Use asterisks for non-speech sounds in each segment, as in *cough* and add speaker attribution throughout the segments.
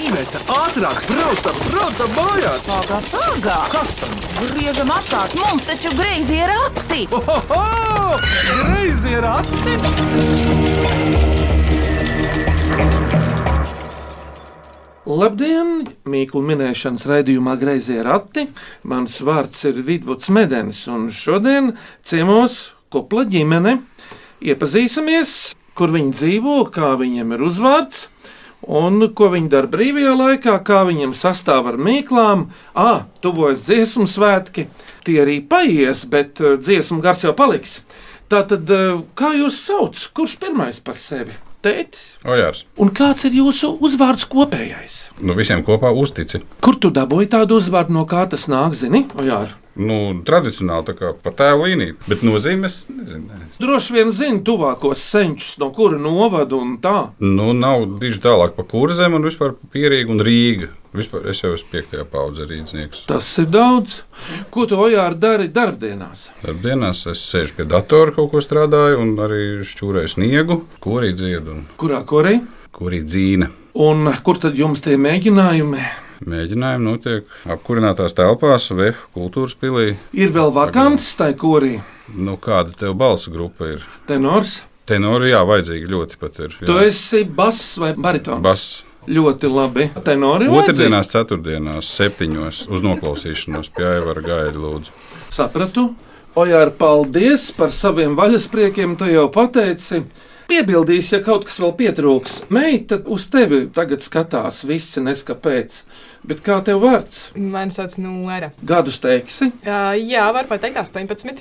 Speaker 1: Iveta, ātrāk, braucam, braucam mājās!
Speaker 2: Pagā, pagā!
Speaker 1: Kas tam?
Speaker 2: Griežam atkārt, mums taču greizi ir rati!
Speaker 1: Ohoho! Greizi ir ati!
Speaker 3: Labdien! Mīklu minēšanas raidījumā Greizie rati. Mans vārds ir Vidvuds Medens, un šodien ciemos kopla ģimene. Iepazīsimies, kur viņi dzīvo, kā viņiem ir uzvārds, un ko viņi dara brīvajā laikā, kā viņiem sastāv ar mīklām. Ā, tuvojas dziesmu svētki, tie arī paies, bet eh, dziesmu gars jau paliks. Tātad, eh, kā jūs sauc, kurš pirmais par sevi? Tētis?
Speaker 4: Ojārs,
Speaker 3: Un kāds ir jūsu uzvārds kopējais?
Speaker 4: nu visiem kopā uztici.
Speaker 3: Kur tu dabūji tādu uzvārdu, no kā tas nāk, zini? Jā,
Speaker 4: Nu, tradicionāli tā kā pa tēlu līniju, bet nozīmes nezinu. Nē.
Speaker 3: droši vien zini tuvākos senčus, no kura novada un tā.
Speaker 4: Nu, nav diži tālāk pa kurzem un vispār pierīga un Rīga. Vispār es jau esmu piektajā paudze rīdznieks.
Speaker 3: Tas ir daudz. Ko tu ojāri dari darbdienās?
Speaker 4: Darbdienās es sēžu pie datora, kaut ko strādāju un arī šķūrēju sniegu, kurī dziedu un
Speaker 3: Kurā korī?
Speaker 4: kurī dzīna.
Speaker 3: Un kur tad jums tie mēģinājumi?
Speaker 4: Mēģinājumi notiek apkurinātās telpās, VF kultūras pilī.
Speaker 3: Ir vēl vakants tai korī.
Speaker 4: Nu, kāda tev balsu grupa ir?
Speaker 3: Tenors,
Speaker 4: Tenori, jā, vajadzīgi ļoti pat ir. jā.
Speaker 3: tu esi bass vai baritons?
Speaker 4: Bass.
Speaker 3: Ļoti labi. Tenori vajadzīgi?
Speaker 4: Otradienās, ceturtdienās, septiņos uz noklausīšanos pie Aivara Gaida lūdzu.
Speaker 3: Sapratu. Ojāri, paldies par saviem vaļaspriekiem, tu jau pateici. Piebildīs, ja kaut kas vēl pietrūks. Meita uz tevi tagad skatās, visi neskapēc. Bet kā tev vārds?
Speaker 5: Mani sauc Nora.
Speaker 3: Gadus teiksi,
Speaker 5: Uh, jā, var pateikt 18.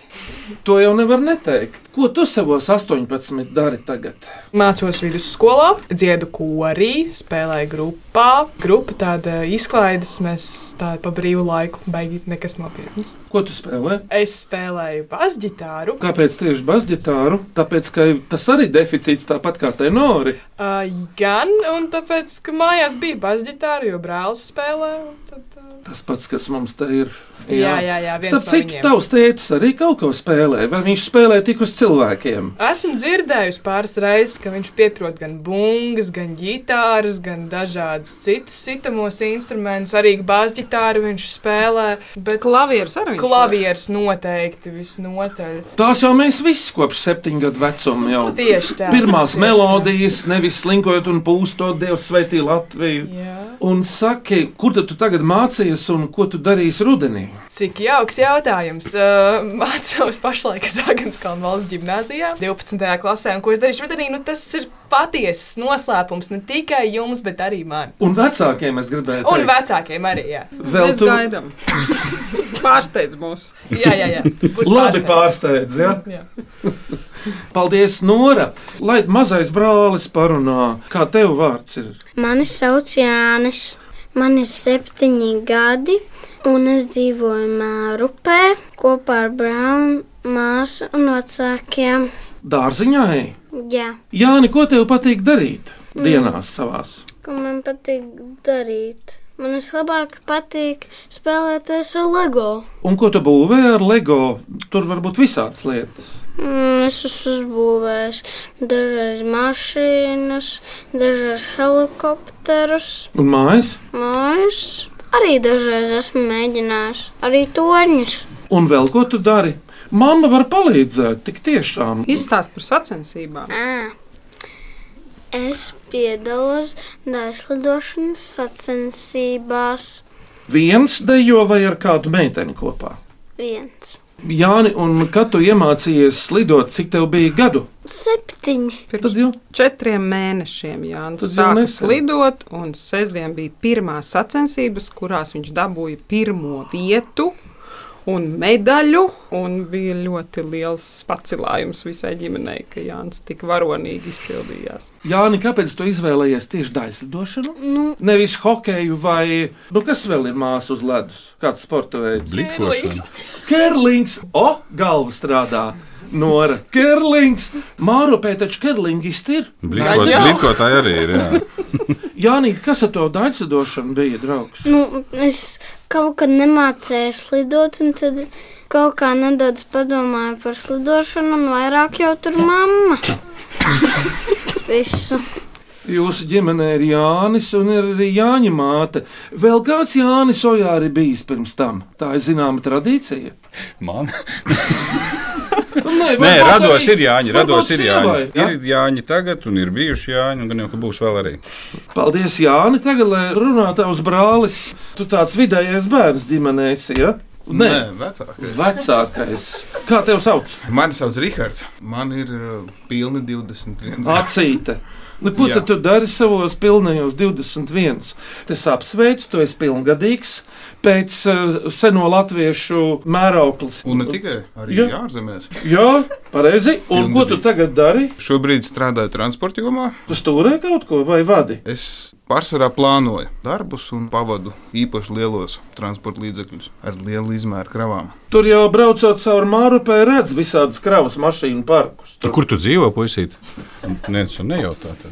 Speaker 3: to jau nevar neteikt. Ko tu savos 18 dari tagad?
Speaker 5: Mācos vidusskolā, dziedu korī, spēlēju grupā. Grupa tāda izklaides, mēs tādu pa brīvu laiku beigīgi nekas nopietnas.
Speaker 3: Ko tu spēlē?
Speaker 5: Es spēlēju basģitāru.
Speaker 3: Kāpēc tieši basģitāru? Tāpēc, ka tas arī deficīts tāpat kā tenori.
Speaker 5: Uh, gan, un tāpēc, ka mājās bija basģitāra, jo brālis spēlē. un Tad, uh,
Speaker 3: Tas pats, kas mums te ir.
Speaker 5: jā, jā, jā, viens
Speaker 3: Starp
Speaker 5: no
Speaker 3: citu,
Speaker 5: viņiem.
Speaker 3: tavs tēvs arī kaut ko spēlē, vai viņš spēlē tik uz cilvēkiem?
Speaker 5: Esmu dzirdējusi pāris reizes, ka viņš pieprot gan bungas, gan ģitāras, gan dažādas citas sitamos instrumentus. Arī bāzģitāru viņš spēlē, bet
Speaker 6: Klavieris arī. viņš
Speaker 5: klavieres noteikti visnotaļ.
Speaker 3: Tās jau mēs visi kopš septiņu gadu vecuma jau.
Speaker 5: Tieši tā.
Speaker 3: Pirmās
Speaker 5: Nu, tieši tā.
Speaker 3: melodijas, nevis slinkojot un pūstot, Dievs sveitī Latviju.
Speaker 5: Jā.
Speaker 3: Un saki, kur tad tu tagad mācījies un ko tu darīsi rudenī?
Speaker 5: Cik jauks jautājums. Uh, Mācos pašlaik Zāģenskalna valsts gimnājā, 12. klasē, un ko es darīšu rudenī, nu tas ir patiesas noslēpums ne tikai jums, bet arī man.
Speaker 3: Un vecākiem es gribēju
Speaker 5: Un
Speaker 3: teikt,
Speaker 5: vecākiem arī, jā.
Speaker 3: vēl
Speaker 6: Mēs
Speaker 3: tu
Speaker 6: gaidām. Pārsteidz mūs.
Speaker 5: Jā, jā, jā. Būs
Speaker 3: labi
Speaker 5: pārsteigums.
Speaker 3: pārsteidz, ja?
Speaker 5: Jā.
Speaker 3: Paldies, Nora! Lai mazais brālis parunā, kā tev vārds ir?
Speaker 7: Mani sauc Jānis. Man ir septiņi gadi, un es dzīvoju Mārupē kopā ar brāli, māsu un vecākiem.
Speaker 3: Dārziņā, ej!
Speaker 7: Jā,
Speaker 3: Jāni, ko tev patīk darīt dienās savās?
Speaker 7: ko man patīk darīt. Man vislabāk patīk spēlēties ar LEGO.
Speaker 3: Un ko tu būvēji ar LEGO? Tur var būt visādas lietas.
Speaker 7: Mm, Es esmu uzbūvējis dažreiz mašīnas, dažreiz helikopterus,
Speaker 3: Un mājas,
Speaker 7: mājas. Arī dažreiz esmu mēģinājis, arī torņus.
Speaker 3: un vēl ko tu dari? Mama var palīdzēt, tik tiešām.
Speaker 6: Izstāst par sacensībām.
Speaker 7: Ā, Es piedalos daislidošanas sacensībās.
Speaker 3: Viens dejo vai ar kādu meiteni kopā.
Speaker 7: Viens,
Speaker 3: Jāni, un kad tu iemācījies slidot, cik tev bija gadu?
Speaker 7: septiņi.
Speaker 3: Tad jau
Speaker 6: Četriem mēnešiem
Speaker 3: Tas jau
Speaker 6: Jānis sāka
Speaker 3: nesen.
Speaker 6: slidot, un sestdien bija pirmā sacensības, kurās viņš dabūja pirmo vietu. Un medaļu, un bija ļoti liels pacelājums visai ģimenei, ka Jānis tik varonīgi izpildījās.
Speaker 3: Jāni, kāpēc tu izvēlējies tieši daislidošanu?
Speaker 7: Nu,
Speaker 3: Nevis hokeju vai, nu kas vēl ir māsas uz ledus? Kāds sporta veids?
Speaker 4: Blikošana.
Speaker 3: Kerlings, o, galva strādā. Nora, Kerlings, Mārupē taču Kerlingisti ir.
Speaker 4: Blikot-
Speaker 5: Jā.
Speaker 4: Blikotāji arī ir. Jā.
Speaker 3: Jānis, kas ar to daļcidošanu bija, draugs?
Speaker 7: nu, es kaut kad nemācījos lidot, un tad kaut kā nedaudz padomāju par
Speaker 8: *laughs*
Speaker 7: slidošanu, un vairāk jau tur mamma. Visu.
Speaker 3: Jūsu ģimenē ir Jānis un ir arī Jāņa māte. Vēl kāds Jānis Ojā arī bijis pirms tam. Tā ir zināma tradīcija. Nu,
Speaker 9: Man?
Speaker 3: Nē,
Speaker 9: Nē,
Speaker 3: varbūt
Speaker 9: rados
Speaker 3: arī-
Speaker 9: ir Jāņa.
Speaker 3: varbūt
Speaker 9: Rados ir Jāņa.
Speaker 3: sievai, ja?
Speaker 9: Ir Jāņa tagad, un ir bijuši Jāņa, un gan jau, ka būs vēl arī.
Speaker 3: Paldies, Jāni. Tagad, lai runātājs brālis, tu tāds vidējais bērns ģimenē esi. Ja? Nē,
Speaker 4: vecākais.
Speaker 3: vecākais. Kā tev sauc?
Speaker 4: Mani sauc Rihards. Man ir uh, pilni 21.
Speaker 3: Ah. Acīte. Nu, ko
Speaker 4: Jā.
Speaker 3: tad tu dari savos pilnajos 21? Es apsveicu, tu esi pilngadīgs pēc uh, seno latviešu mēroklis.
Speaker 4: Un ne tikai, arī
Speaker 3: Jā.
Speaker 4: Jā. ārzemēs.
Speaker 3: Jā, pareizi. Un ko tu
Speaker 4: Pilngadīgs.
Speaker 3: tagad dari?
Speaker 4: Šobrīd strādāju transporta jomā.
Speaker 3: Tu stūrē kaut ko vai vadi?
Speaker 4: Es pārsvarā plānoju darbus un pavadu īpaši lielos transporta līdzekļus ar lielu izmēru kravām.
Speaker 3: Tur jau braucot caur Mārupē, redz visādus kravas mašīnu parkus. Tur,
Speaker 9: Kur tu dzīvo, puisīt? Nē, tas nejautā. Tad.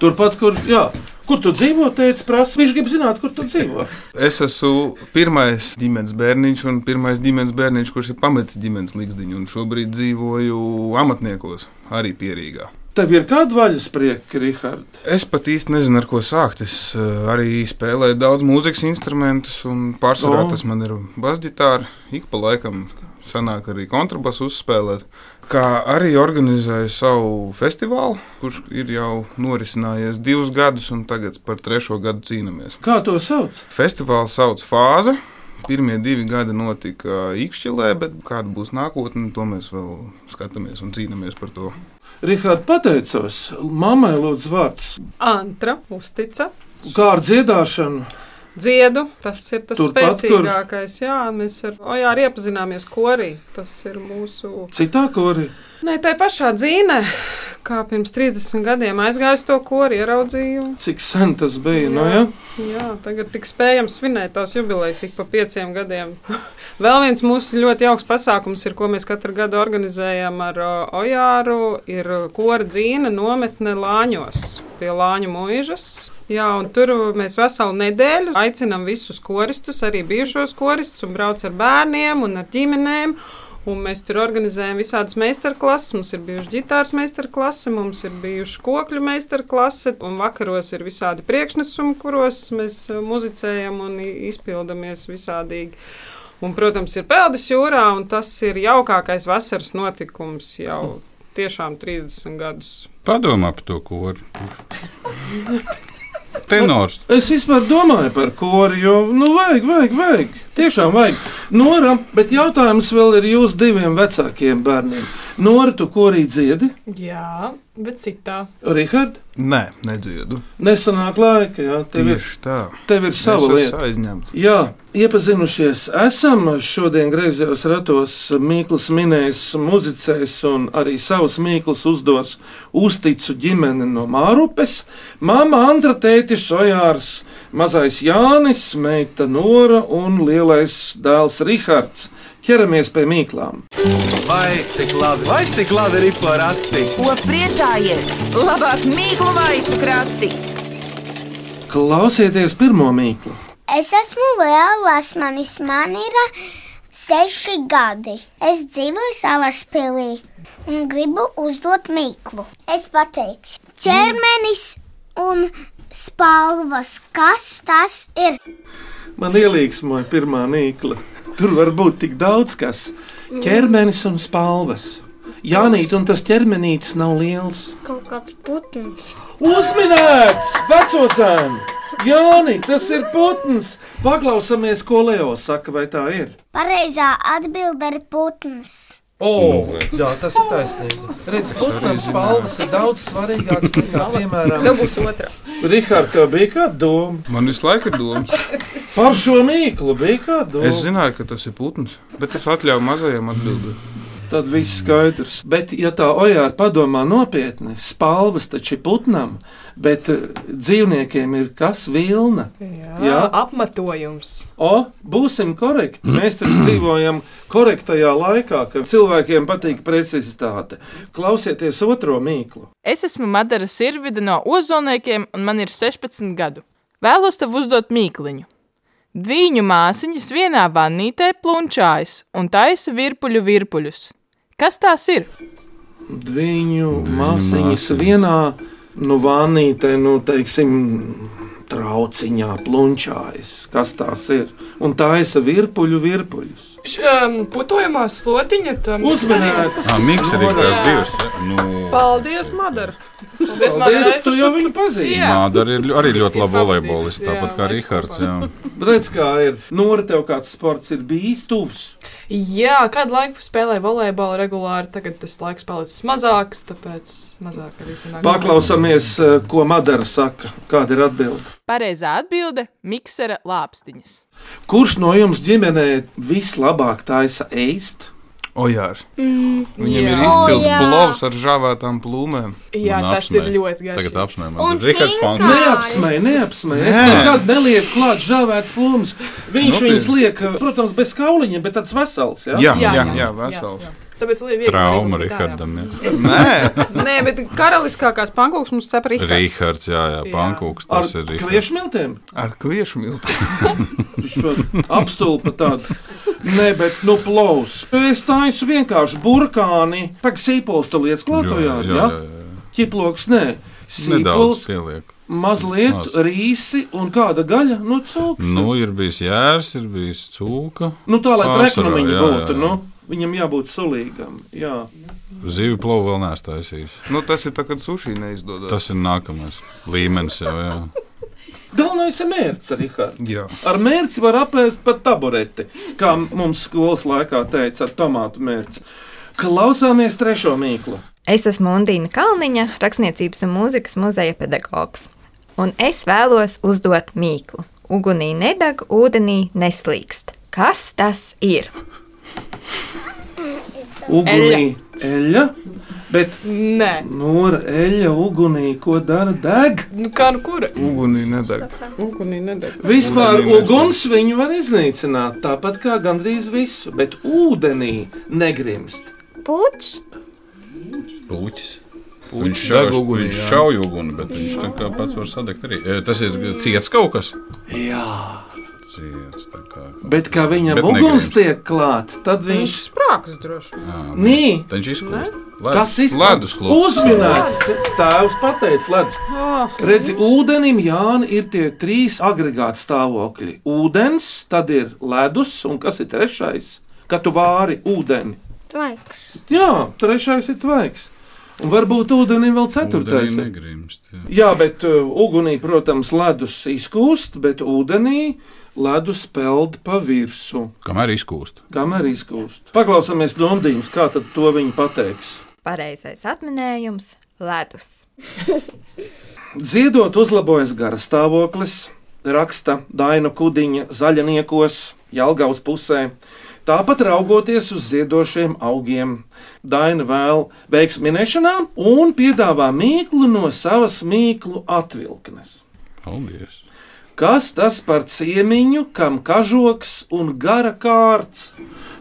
Speaker 3: turpat, kur, jā, kur tu dzīvo, teica prasa. Viņš grib zināt, kur tu dzīvo.
Speaker 4: Es esmu pirmais ģimenes bērniņš un pirmais ģimenes bērniņš, kurš ir pametis ģimenes likteņu un šobrīd dzīvoju amatniekos, arī pierīgā.
Speaker 3: Tev ir kāda vaļasprieka, Rihard?
Speaker 4: Es pat īsti nezinu, ar ko sākt. Es uh, arī spēlēju daudz mūzikas instrumentus, un pārsvarā
Speaker 3: O.
Speaker 4: oh. tas man ir basģitāra. Ik pa laikam sanāk arī kontrabasu uzspēlēt. Kā arī organizēju savu festivālu, kurš ir jau norisinājies divus gadus, un tagad par trešo gadu cīnāmies.
Speaker 3: Kā to sauc?
Speaker 4: Festivāls sauc Fāze. Pirmie divi gadi notika īkšķelē, bet kāda būs nākotne, to mēs vēl skatāmies un cīnāmies par to.
Speaker 3: Rihard, pateicos. Mammai lūdzu vārds.
Speaker 6: Antra uztica.
Speaker 3: Kā ar dziedāšanu?
Speaker 6: Dziedu, tas ir tas
Speaker 3: Turpat, kur-
Speaker 6: spēcīgākais. Jā, mēs ar Ojā arī iepazināmies korī. Tas ir mūsu
Speaker 3: Citā korī.
Speaker 6: Nē, tā pašā dzīve, kā pirms 30 gadiem aizgāju uz to kori, ieraudzīju.
Speaker 3: Cik sen tas bija?
Speaker 6: Jā.
Speaker 3: Nu, ja?
Speaker 6: Jā, tagad tik spējam svinēt tās jubilejas ik pa pieciem gadiem. *laughs* Vēl viens mūsu ļoti jauks pasākums ir, ko mēs katru gadu organizējam ar o, Ojāru, ir kora dzīve nometne Lāņos pie Lāņu mūžas. Jā, un tur mēs veselu nedēļu aicinām visus koristus, arī bijušos koristus, un brauc ar bērniem un ar ģimenēm. Un mēs tur organizējam visādas meistarklases. Mums ir bijusi ģitāras meistarklase, mums ir bijusi kokļu meistarklase, un vakaros ir visādi priekšnesumi, kuros mēs eh, muzicējam un i- izpildamies visādīgi. Un, protams, ir peldas jūrā, un tas ir jaukākais vasaras notikums jau tiešām 30 gadus.
Speaker 9: Padomā par to koru. Tenors.
Speaker 3: Es vispār domāju par kori, jo, nu, vajag, vajag, vajag. Tiešām vajag. Nora, bet jautājums vēl ir jūs diviem vecākiem bērniem. Nora, tu korī dziedi,
Speaker 10: Jā, bet citā.
Speaker 3: Rihard,
Speaker 4: Nē, nedziedu.
Speaker 3: nesanāk laika, jā, tev ir,
Speaker 4: Tieši tā.
Speaker 3: tev ir sava
Speaker 4: es
Speaker 3: lieta.
Speaker 4: esmu aizņemts.
Speaker 3: Jā, iepazinušies. Esam šodien griezos ratos. Mīkls minēs, muzicēs un arī savus mīklus uzdos uzticu ģimeni no Mārupes. Māma Andra, tētis Ojārs, mazais Jānis, meita Nora un lielais dēls Rihards. Ķeramies pie mīklām.
Speaker 11: Vai cik labi, vai cik labi ir pa rati?
Speaker 12: Ko priecājies? Labāk mīklu maisu krati.
Speaker 3: Klausieties pirmo mīklu.
Speaker 8: Es esmu Lielas, manis man ir ā, seši gadi. Es dzīvoju savā spēlī un gribu uzdot mīklu. Es pateikšu, ķermenis un spalvas, kas tas ir?
Speaker 3: Man ielīgsmoja pirmā mīkla. Tur var būt tik daudz kas. Cermenis un spalvas. Jānīt, un tas ķermenītis nav liels.
Speaker 7: Kaut kāds putns.
Speaker 3: Uzminēts vecosēm! Jāni, tas ir putns! Paklausāmies, ko Leo saka, vai tā ir.
Speaker 8: Pareizā atbilde ir putns.
Speaker 3: O, jā, tas ir taisnība. Redz, putnam spalvas ir daudz svarīgākas nekā, piemēram,
Speaker 6: Tā būs otrā.
Speaker 3: Rihards, tev bija kāda doma?
Speaker 4: Man visu laiku ir doma.
Speaker 3: Par šo mīklu bija kāda doma.
Speaker 4: Es zināju, ka tas ir putns, bet es atļāvu mazajam atbildēt.
Speaker 3: Tad viss skaidrs. Bet, ja tā ojāra padomā nopietni, spalvas taču ir putnam, bet eh, dzīvniekiem ir kas vilna.
Speaker 10: Jā,
Speaker 3: Jā.
Speaker 5: Ah,
Speaker 10: apmetojums.
Speaker 3: O, būsim korekti. Mēs taču dzīvojam korektajā laikā, kad cilvēkiem patīk precizitāte. Klausieties otro mīklu.
Speaker 5: Es esmu Madara Sirvida no Ozoniekiem, un man ir 16 gadu. Vēlos tev uzdot mīkliņu. Dviņu māsiņas vienā vannītē plunčājas un taisa virpuļu virpuļus. Kas tās ir?
Speaker 3: Viņu māsiņas vienā nu, vānītē, nu, teiksim, trauciņā plunčājas, kas tās ir, un taisa virpuļu virpuļus.
Speaker 5: Šī um, putojumā slotiņa tam
Speaker 3: Uzmanīgs!
Speaker 4: Ah, Mikls ir tās divas. ja? Nu,
Speaker 6: Paldies, Madara!
Speaker 5: Paldies,
Speaker 3: Paldies,
Speaker 5: Madara.
Speaker 3: tu jau viņu pazīsti.
Speaker 5: Jā.
Speaker 4: Mādara ir ļo- arī ļoti laba
Speaker 5: Patīk,
Speaker 4: volejbolists,
Speaker 5: jā,
Speaker 4: tāpat kā
Speaker 5: mēs
Speaker 4: Rihards. jā.
Speaker 3: Redz, kā ir. Nora, tev kāds sports ir bijis tuvs.
Speaker 5: Jā, kādu laiku spēlēju volejbolu regulāri, tagad tas laiks palicis mazāks, tāpēc mazāk arī
Speaker 13: Nu.
Speaker 5: sanāk.
Speaker 3: Paklausāmies, eh, ko Madara saka, kāda ir atbilde.
Speaker 13: Pareizā atbilde - miksera lāpstiņas.
Speaker 3: Kurš no jums ģimenē vislabāk taisa ēst?
Speaker 14: Ojārs.
Speaker 7: Mm,
Speaker 14: Viņam
Speaker 5: Jā.
Speaker 14: ir izcils
Speaker 7: O, jā.
Speaker 14: blovs ar žāvētām plūmēm.
Speaker 5: Jā,
Speaker 4: Man
Speaker 5: tas ir
Speaker 4: apsmēja.
Speaker 5: ļoti garš.
Speaker 4: Tagad
Speaker 7: Un
Speaker 4: apsmējam. Rihards
Speaker 7: Finka.
Speaker 4: Pankas.
Speaker 3: Neapsmēj, neapsmēj. Es
Speaker 4: Nē.
Speaker 3: nekad nelieku klāt žāvētas plūmus. Viņš
Speaker 4: Nopietni.
Speaker 3: viņus liek, eh, protams, bez kauliņiem, bet tāds vesels. Ja?
Speaker 5: Jā,
Speaker 14: Jā, jā,
Speaker 5: jā,
Speaker 14: jā,
Speaker 5: jā,
Speaker 14: vesels.
Speaker 5: jā. Tāpēc liekas, ka
Speaker 4: Trauma Rihardam. jā.
Speaker 14: Nē,
Speaker 6: Nē, bet karaliskākās pankūks mums cep Rihards.
Speaker 4: Rihards, jā, jā,
Speaker 5: Jā.
Speaker 4: Pankūks.
Speaker 3: Ar
Speaker 4: Tas ir Rihards.
Speaker 3: kviešmiltiem?
Speaker 14: ar kviešu miltu.
Speaker 3: Viņš to apstulpa tādu. Nē, bet nu plaus. Es taisu vienkārši burkāni. Pag sīpols tu liec klātojā,
Speaker 4: Jā, jā,
Speaker 3: ja?
Speaker 4: jā, jā.
Speaker 3: Ķiploks, nē.
Speaker 4: Nedaudz
Speaker 3: Sīpols,
Speaker 4: pieliek.
Speaker 3: mazliet
Speaker 4: Maz.
Speaker 3: rīsi un kāda gaļa, nu, cūks. Nu,
Speaker 4: Nu, ir bijis jērs, ir bijis cūka.
Speaker 3: nu tā, lai
Speaker 4: pārsvarā,
Speaker 3: treknumiņa
Speaker 4: jā,
Speaker 3: būtu,
Speaker 4: jā.
Speaker 3: nu, viņam jābūt sulīgam, jā.
Speaker 4: Zīvi plovu vēl nestaisījis.
Speaker 14: Nu, tas ir tā, kad suši neizdodas.
Speaker 4: Tas ir nākamais līmenis jau. Jā.
Speaker 3: Galvenais ir mērķis, Rihard.
Speaker 14: Jā,
Speaker 3: Ar mērķi var apēst pat tabureti, kā mums skolas laikā teica ar tomātu mērķi. Klausāmies trešo mīklu.
Speaker 12: Es esmu Mondīna Kalniņa, rakstniecības un mūzikas muzeja pedagogs. Un es vēlos uzdot mīklu. Ugunī nedeg, ūdenī neslīkst. Kas tas ir?
Speaker 3: Ugunī, eļļa, bet
Speaker 5: Nē,
Speaker 3: nora eļļa ugunī, ko dara deg?
Speaker 5: nu kā nu kura?
Speaker 14: ugunī nedeg.
Speaker 6: Ugunī nedeg.
Speaker 3: Vispār
Speaker 14: Ūdenī
Speaker 3: uguns viņu var iznīcināt, tāpat kā gandrīz visu, bet ūdenī negrimst.
Speaker 7: puķis.
Speaker 4: Puķis. Viņš
Speaker 14: Puķis deg ugunī,
Speaker 4: šauj-
Speaker 14: jā.
Speaker 4: šauj uguni, bet viņš tā kā pats var sadegt arī. E, Tas ir ciets kaut kas.
Speaker 3: Jā,
Speaker 4: Ciets, tā kā.
Speaker 3: bet kā viņam
Speaker 4: Bet
Speaker 3: bet uguns
Speaker 4: negrimst.
Speaker 3: tiek klāts, tad
Speaker 6: Viņš
Speaker 3: viņš
Speaker 6: sprāgs droši. vien.
Speaker 3: nī.
Speaker 4: Tad viņš izkūst.
Speaker 3: Kas ir
Speaker 4: Ledus klūps.
Speaker 3: Uzminēts, tēvs pateica, ledus.
Speaker 6: Ah,
Speaker 3: Redzi, ūdenim Jāni, ir tie trīs agregāti stāvokļi. Ūdens, tad ir ledus, un kas ir trešais? Kad tu vāri ūdeni.
Speaker 7: Tvaiks.
Speaker 3: Jā, trešais ir tvaiks. Un varbūt ūdenim vēl ceturtais. ir.
Speaker 4: Negrimst. jā.
Speaker 3: Jā, bet uh, ugunī, protams, ledus izkūst, bet ūdenī ledus peld pa virsmu.
Speaker 4: Kamēr izkūst.
Speaker 3: Kamēr izkūst. Paklausāmies Dondīnas, kā tad to viņi pateiks.
Speaker 12: Pareizais atminējums - ledus.
Speaker 3: Dziedot, uzlabojas gara stāvoklis, raksta Daina Kudiņa zaļniekos, Jālgavas pusē. Tāpat raugoties uz ziedošiem augiem, Daina vēl veiks minēšanā un piedāvā mīklu no savas mīklu atvilknes.
Speaker 4: Paldies.
Speaker 3: Kas tas par ciemiņu, kam kažoks un gara kārts?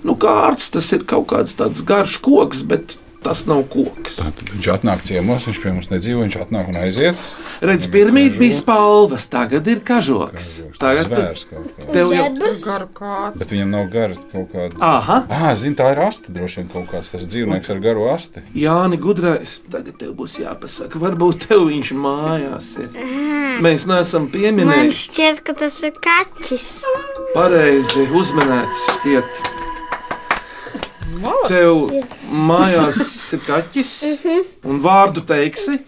Speaker 3: Nu, kārts tas ir kaut kāds tāds garš koks, bet tas nav koks.
Speaker 4: Tad viņš atnāk ciemos, viņš pie mums nedzīvo, viņš atnāk un aiziet.
Speaker 3: Redz, pirmīt bija spalvas, tagad ir kažoks. Tagad tu-
Speaker 4: zvērs kaut kā.
Speaker 3: tev jau.
Speaker 7: Zebrs.
Speaker 6: garu kā.
Speaker 4: Bet viņam nav garas kaut kāda.
Speaker 3: Aha,
Speaker 4: Ah, zini, tā ir asta droši vien kaut kāds tas dzīvnieks ar garu asti.
Speaker 3: Jāni, gudrais, tagad tev būs jāpasaka, varbūt tev viņš mājās ir. Mēs neesam
Speaker 7: Man
Speaker 3: pieminējuši
Speaker 7: šķiet, ka tas ir kaķis.
Speaker 3: pareizi uzmanēts šķiet. Tev mājās ir kaķis un vārdu teiksi.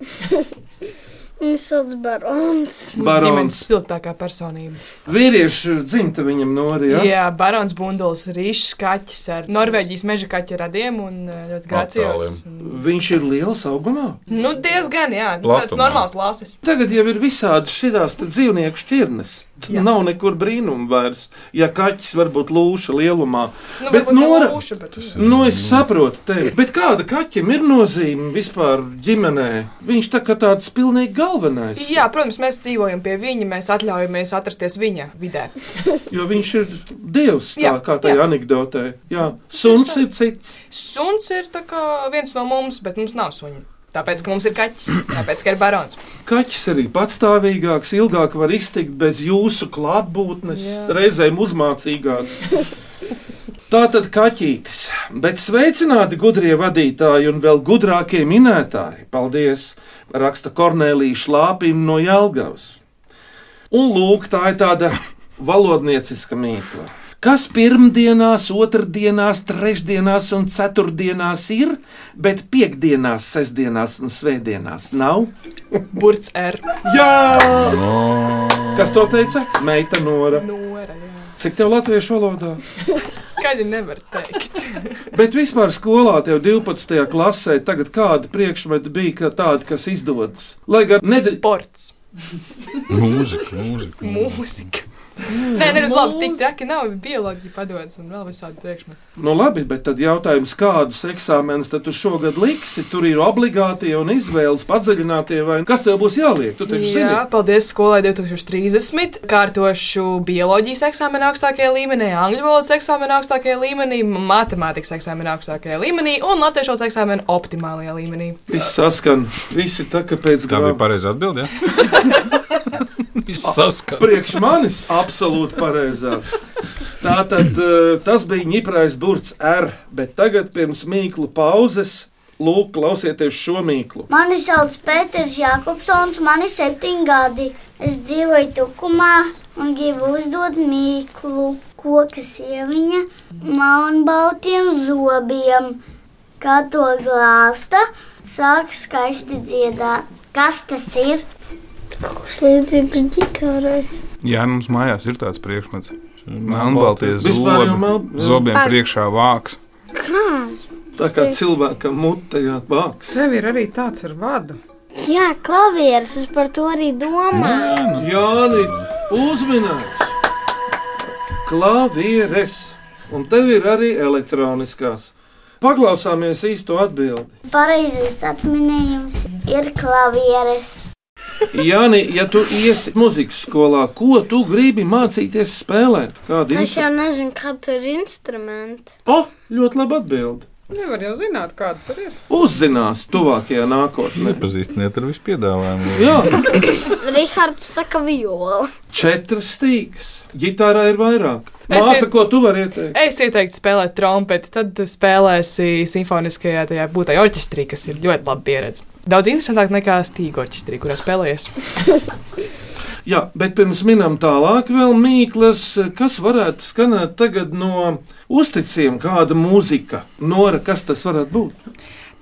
Speaker 7: Viņš sauc barons.
Speaker 5: Mūsu ģimenes
Speaker 3: Barons.
Speaker 5: spilgtākā personība.
Speaker 3: Vīriešu dzimta viņam
Speaker 5: Jā,
Speaker 3: norija.
Speaker 5: Jā barons Bunduls, rīšs kaķis ar Norvēģijas meža kaķa radiem un ā, ļoti gracios.
Speaker 3: Viņš ir liels augumā.
Speaker 5: Nu, diezgan, jā, nu, tāds
Speaker 4: Platumā.
Speaker 5: normāls lasis.
Speaker 3: Tagad jau ir visādi šīs dzīvnieku šķirnes.
Speaker 5: Jā.
Speaker 3: Jā. Nav nekur brīnuma vairs, ja kaķis var būt lūša lielumā.
Speaker 5: Nu,
Speaker 3: Bet
Speaker 5: varbūt ne
Speaker 3: Nora-
Speaker 5: lūša, bet...
Speaker 3: Nu, es saprotu tevi, bet kāda kaķim ir nozīme vispār ģimenē? Viņš tā kā tāds pilnīgi galvenais.
Speaker 5: Jā, protams, mēs dzīvojam pie viņa, mēs atļaujamies atrasties viņa vidē.
Speaker 3: Jo viņš ir dievs, tā,
Speaker 5: Jā,
Speaker 3: kā tajā
Speaker 5: jā.
Speaker 3: anekdotē. Jā, suns ir cits.
Speaker 5: Suns ir tā kā viens no mums, bet mums nav suņa. Tāpēc, ka mums ir kaķis, tāpēc, ka ir barons.
Speaker 3: Kaķis arī patstāvīgāks, ilgāk var iztikt bez jūsu klātbūtnes,
Speaker 5: Jā.
Speaker 3: reizēm uzmācīgās. Tātad kaķītis, bet sveicināti gudrie vadītāji un vēl gudrākie minētāji. Paldies! Raksta Kornelija Šlāpim no Jālgavas. Un lūk, tā ir tāda valodnieciska mīkla. Kas pirmdienās, otrdienās, trešdienās un ceturtdienās ir, bet piekdienās, sestdienās un svētdienās nav?
Speaker 15: Burts R.
Speaker 3: Jā! Kas to teica? Meita Nora.
Speaker 15: Nora, jā.
Speaker 3: Cik tev latviešu valodā?
Speaker 15: Skaļi nevar teikt.
Speaker 3: Bet vispār skolā tev 12. klasē, tagad kāda priekšmeta bija ka tāda, kas izdodas? Lai gan nedēļa.
Speaker 15: Sports.
Speaker 16: Mūzika, mūzika.
Speaker 15: Mūzika. Nē, nē, nu, labi, tik traki nav. Bioloģija padodas un vēl visādi priekšmeti.
Speaker 3: Nu, labi, bet tad jautājums, kādus eksāmenus tad tu šogad liksi? Tur ir obligātie un izvēles padziļinātie, vai kas tev būs jāliek? Tu taču zini,
Speaker 15: Jā, paldies skolai 2030. Kārtošu bioloģijas eksāmenu augstākajā līmenī, angļu valodas eksāmenu augstākajā līmenī, matemātikas eksāmenu augstākajā līmenī un latviešu valodas eksāmenu optimālajā līmenī.
Speaker 3: viss saskan, visi tā kā pēc
Speaker 16: Tā bija
Speaker 3: gada.
Speaker 16: pareiza atbilde. Ja? Viss saskan.
Speaker 3: Priekš manis absolūti pareizā. Tā tad eh, tas bija ņiprais burts R, bet tagad pirms mīklu pauzes, lūk, klausieties šo mīklu.
Speaker 8: Mani sauc Pēters Jākopsons, man ir septiņi gadi. Es dzīvoju Tukumā un gribu uzdot mīklu, koka sieviņa, melnbaltiem zobiem. Kā to glāsta, sāk skaisti dziedāt. Kas tas ir?
Speaker 7: Kas līdzīgs ģitārai?
Speaker 4: Jā, nu, mums mājās ir tāds priekšmets. Melnbalties
Speaker 3: Vispār jau
Speaker 4: zobi,
Speaker 3: mel- jā.
Speaker 4: zobiem
Speaker 7: Ar-
Speaker 4: priekšā vāks.
Speaker 7: Kāds?
Speaker 3: Tā kā cilvēkam mutē vāks.
Speaker 6: Tev ir arī tāds ar vadu.
Speaker 7: Jā, klavieres, es par to arī domāju.
Speaker 4: nu.
Speaker 3: Jāni, uzmanīts! Klavieres! Un tev ir arī elektroniskās. Paklausāmies īsto atbildi.
Speaker 8: Pareizais atminējums ir klavieres.
Speaker 3: Jāni, ja tu iesi muzikas skolā, ko tu gribi mācīties spēlēt? Kādu
Speaker 7: Es jau
Speaker 3: instrumentu?
Speaker 7: nezinu, kāda tur ir instrumenta.
Speaker 3: O, ļoti labi atbildi.
Speaker 6: Nevar jau zināt, kāda tur ir.
Speaker 3: Uzzinās tuvākajā nākotnē.
Speaker 16: Nepazīstiniet ar visu piedāvājumu.
Speaker 3: Jā,
Speaker 7: Rihards saka, viola.
Speaker 3: četras stīgas. Gitārā ir vairāk.
Speaker 15: Es
Speaker 3: Māsa,
Speaker 15: ir-
Speaker 3: ko tu vari ieteikt?
Speaker 15: Es ieteiktu spēlēt trompeti, tad tu spēlēsi simfoniskajā tajā būtai orķestrī, kas ir ļoti laba pieredze. Daudz interesantāk nekā stīga orķestrī, kurā spēlējies.
Speaker 3: Jā, bet pirms minam tālāk, vēl mīklas, kas varētu skanēt tagad no uzticiem, kāda mūzika, Nora, kas tas varētu būt?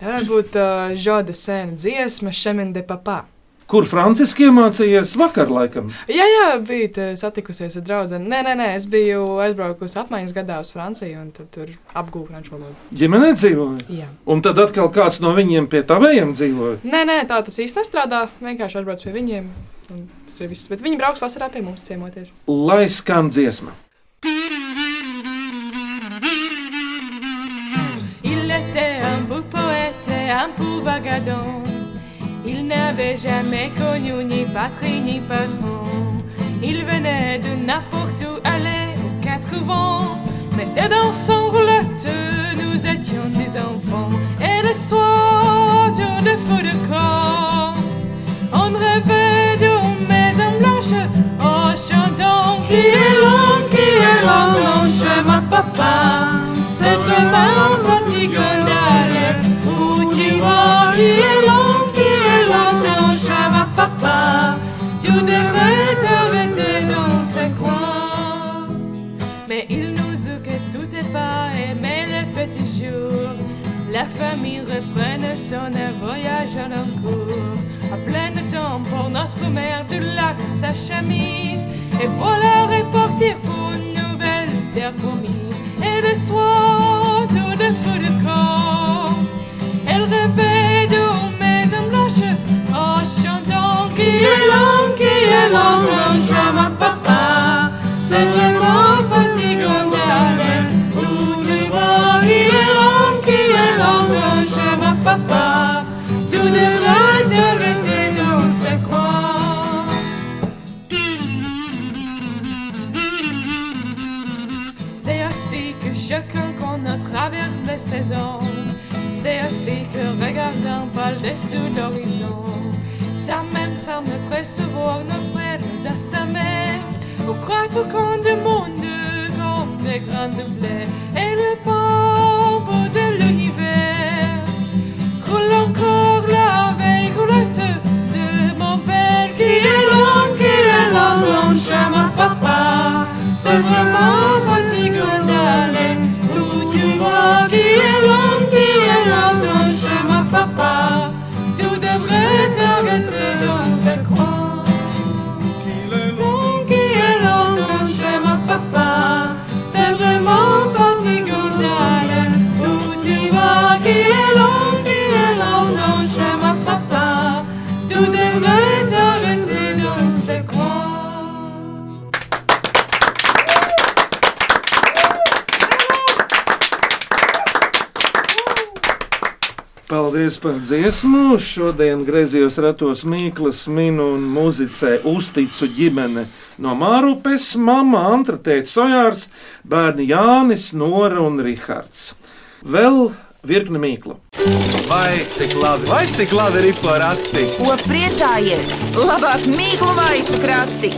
Speaker 15: Tā varētu būt uh, Žoda sēna dziesma Šemende papā.
Speaker 3: Kur Franciski iemācījies vakar, laikam?
Speaker 15: Jā, jā, bija te satikusies ar draugu. Nē, nē, nē, es biju aizbraukusi apmaiņas gadā uz Franciju un tad tur apgūvu franču valodu.
Speaker 3: Ģimenē dzīvoja.
Speaker 15: Jā.
Speaker 3: Un tad atkal kāds no viņiem pie tavējiem dzīvoja.
Speaker 15: Nē, nē, tā tas īsti nestrādā. Vienkārši aizbraucu pie viņiem. un Tas ir viss. Bet viņi brauks vasarā pie mums ciemoties.
Speaker 3: Lai skan dziesma.
Speaker 5: Il était un beau poète et un beau vagabond. Il n'avait jamais connu ni patrie ni patron. Il venait de n'importe où, allait aux quatre vents. Mais dedans son roulotte, nous étions des enfants. Et le soir, autour de feu de camp, on rêvait d'une maison blanche en oh, chantant Qui est long, qui est long, long chemin, papa C'est demain fatigant d'aller où tu vas Qui est long, qui est long, long chemin, papa Tu devrais t'arrêter dans ce coin mais il nous écoutait pas, aimait les petits jours. La famille reprenait son voyage à leur cours. À plein temps pour notre mère du lac sa chemise. Et voilà repartir pour une nouvelle terre promise. Et le soir, tout de feu de corps. Elle rêvait d'une maison blanche en chantant Qui est long, qui est long, long chemin, papa C'est vraiment fatigant d'aller où tu vas Qui est long, qui est long, long chemin, papa Tu devrais t'arrêter dans ce coin C'est ainsi que chacun qu'on traverse les saisons. C'est ainsi que regardant par-dessus l'horizon. Ça même semble percevoir notre aide nous assommait. On croit au camp du monde comme des grands doublés. Et le
Speaker 17: chemin, papa. C'est vraiment fatigant d'aller où tu vois qui est long, qui est long ton chemin, papa. Tu devrais t'arrêter dans ce coin. Qui est long, qui est long ton chemin, papa. C'est vraiment fatigant d'aller où tu vois qui est long, qui est long ton chemin, papa. Tu devrais t'arrêter dans ce coin.
Speaker 3: Paldies par dziesmu. Šodien griezījos ratos Mīklas, Minu un Mūzicē uzticu ģimene no Mārupes, Mama, Antra, Tēta Sojārs, bērni Jānis, Nora un Rihards. Vēl virkne Mīklu.
Speaker 1: Vai cik labi, vai cik labi ir porakti?
Speaker 2: Ko priecājies? Labāk mīklu maisu krati!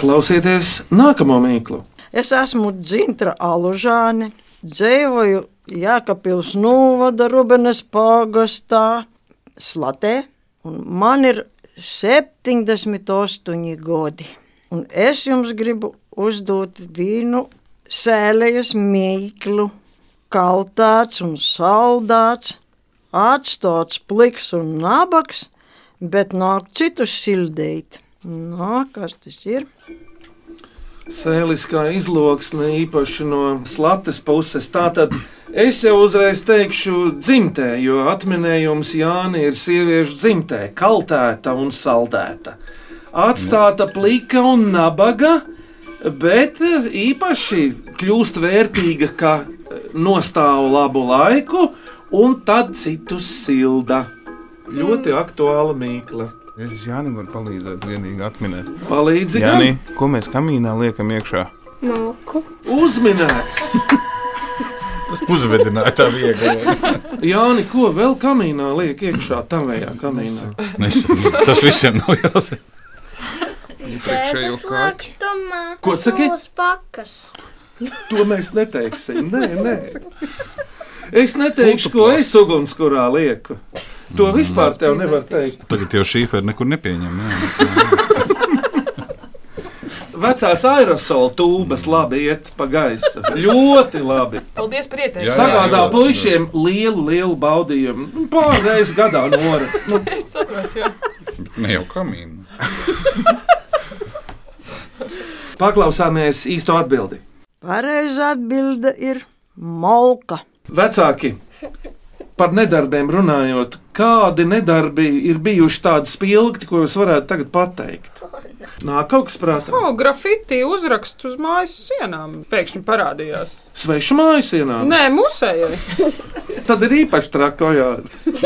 Speaker 3: Klausieties nākamo Mīklu.
Speaker 18: Es esmu Dzintra Alužāne, dzīvoju Jēkabpils novada Rubenes pagastā, Slatē, un man ir 78 godi. Un es jums gribu uzdot vīnu sēlejas mīklu, kaltāts un saldāts, atstāts pliks un nabaks, bet nāk citus sildīt. Nā, kas tas ir?
Speaker 3: Sēliskā izloksne īpaši no slates puses. Tātad es jau uzreiz teikšu dzimtē, jo atminējums Jāni ir sieviešu dzimtē, kaltēta un saldēta. Atstāta plika un nabaga, bet īpaši kļūst vērtīga, ka eh, nostāv labu laiku un tad citus silda. Ļoti aktuāla mīkla.
Speaker 14: Es Jānis varu palīdzēt, vienīgi atminēt.
Speaker 3: Palīdzi,
Speaker 14: Jāni, ko mēs kamīnā liekam iekšā?
Speaker 7: Malku.
Speaker 3: Uzminēts!
Speaker 4: Uzvedināt tā viegli.
Speaker 3: Jāni, ko vēl kamīnā liek iekšā tavējā kamīnā?
Speaker 4: Nes- Tas visiem nav jāsaka.
Speaker 7: Iepriekšējo
Speaker 14: kaķi.
Speaker 3: Ko saki?
Speaker 7: Pakas.
Speaker 3: To mēs neteiksim. Nē, nē. Es neteikšu, ko es ugunskurā lieku. To vispār tev nevar teikt.
Speaker 4: Tagad jau šī fēra nekur nepieņem. Jā.
Speaker 3: Vecās aerosola tūbas labi iet pa gaisu. Ļoti labi.
Speaker 5: Paldies par ieteikumu.
Speaker 3: Sagādā puišiem lielu, lielu baudījumu. Nu, Pārreiz gadā nora. Nu,
Speaker 5: Es saprotu, jā.
Speaker 4: Ne jau kamīna.
Speaker 3: paklausāmies īsto atbildi.
Speaker 18: Pareizā atbilde ir malka.
Speaker 3: Vecāki, par nedarbiem runājot, kādi nedarbi ir bijuši tādi spilgti, ko jūs varētu tagad pateikt? Nāk kaut kas prātā.
Speaker 6: O, grafiti uzraksts uz mājas sienām pēkšņi parādījās.
Speaker 3: Svešu mājas ienāk.
Speaker 6: Nē, musējai.
Speaker 3: Tad ir īpaši trako, jā.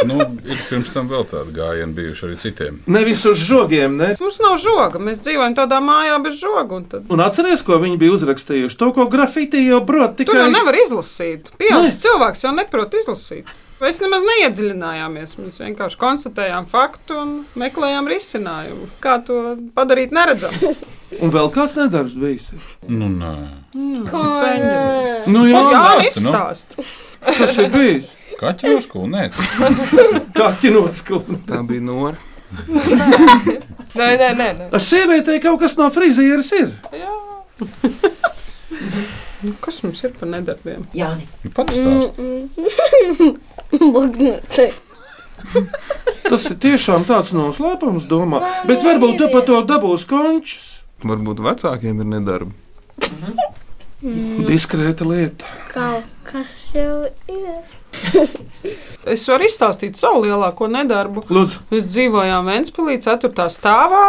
Speaker 4: Nu, ir pirms tam vēl tāda gājiena bijuši arī citiem.
Speaker 3: Nevis uz žogiem, ne?
Speaker 6: Mums nav žoga. Mēs dzīvojam tādā mājā bez žoga. un Tad...
Speaker 3: Un atceries, ko viņi bija uzrakstījuši? To, ko grafitī jau brod
Speaker 6: Tur
Speaker 3: tikai
Speaker 6: jau nevar izlasīt. Pieaugušs cilvēks jau neprot izlasīt. Mēs nemaz neiedziļinājāmies. Mēs vienkārši konstatējām faktu un meklējām risinājumu. Kā to padarīt neredzamu?
Speaker 3: Un vēl kāds nedarbs bijis.
Speaker 4: Nu, nē.
Speaker 6: Sengeli.
Speaker 3: Nu, jā,
Speaker 6: Jānis stāsta.
Speaker 3: Tas ir bijis.
Speaker 4: Kaķi no skolas? Nē,
Speaker 3: Kaķi no skolas.
Speaker 14: Tā bija nora.
Speaker 5: Nē, nē, nē. nē.
Speaker 3: Ar sievietei kaut kas no frizieres ir.
Speaker 6: Nu, kas mums ir par nedarbiem?
Speaker 18: Jā,
Speaker 4: pats
Speaker 7: Bugnutē.
Speaker 3: Tas ir tiešām tāds noslēpums, domā. Bet varbūt tu par to dabūsi končus.
Speaker 14: Varbūt vecākiem ir nedarbi.
Speaker 6: Nu.
Speaker 3: Diskrēta lieta.
Speaker 7: Kaut kas jau ir.
Speaker 6: Es varu izstāstīt savu lielāko nedarbu.
Speaker 3: Lūdzu,
Speaker 6: Mēs dzīvojām Vēnspilī, 4. stāvā.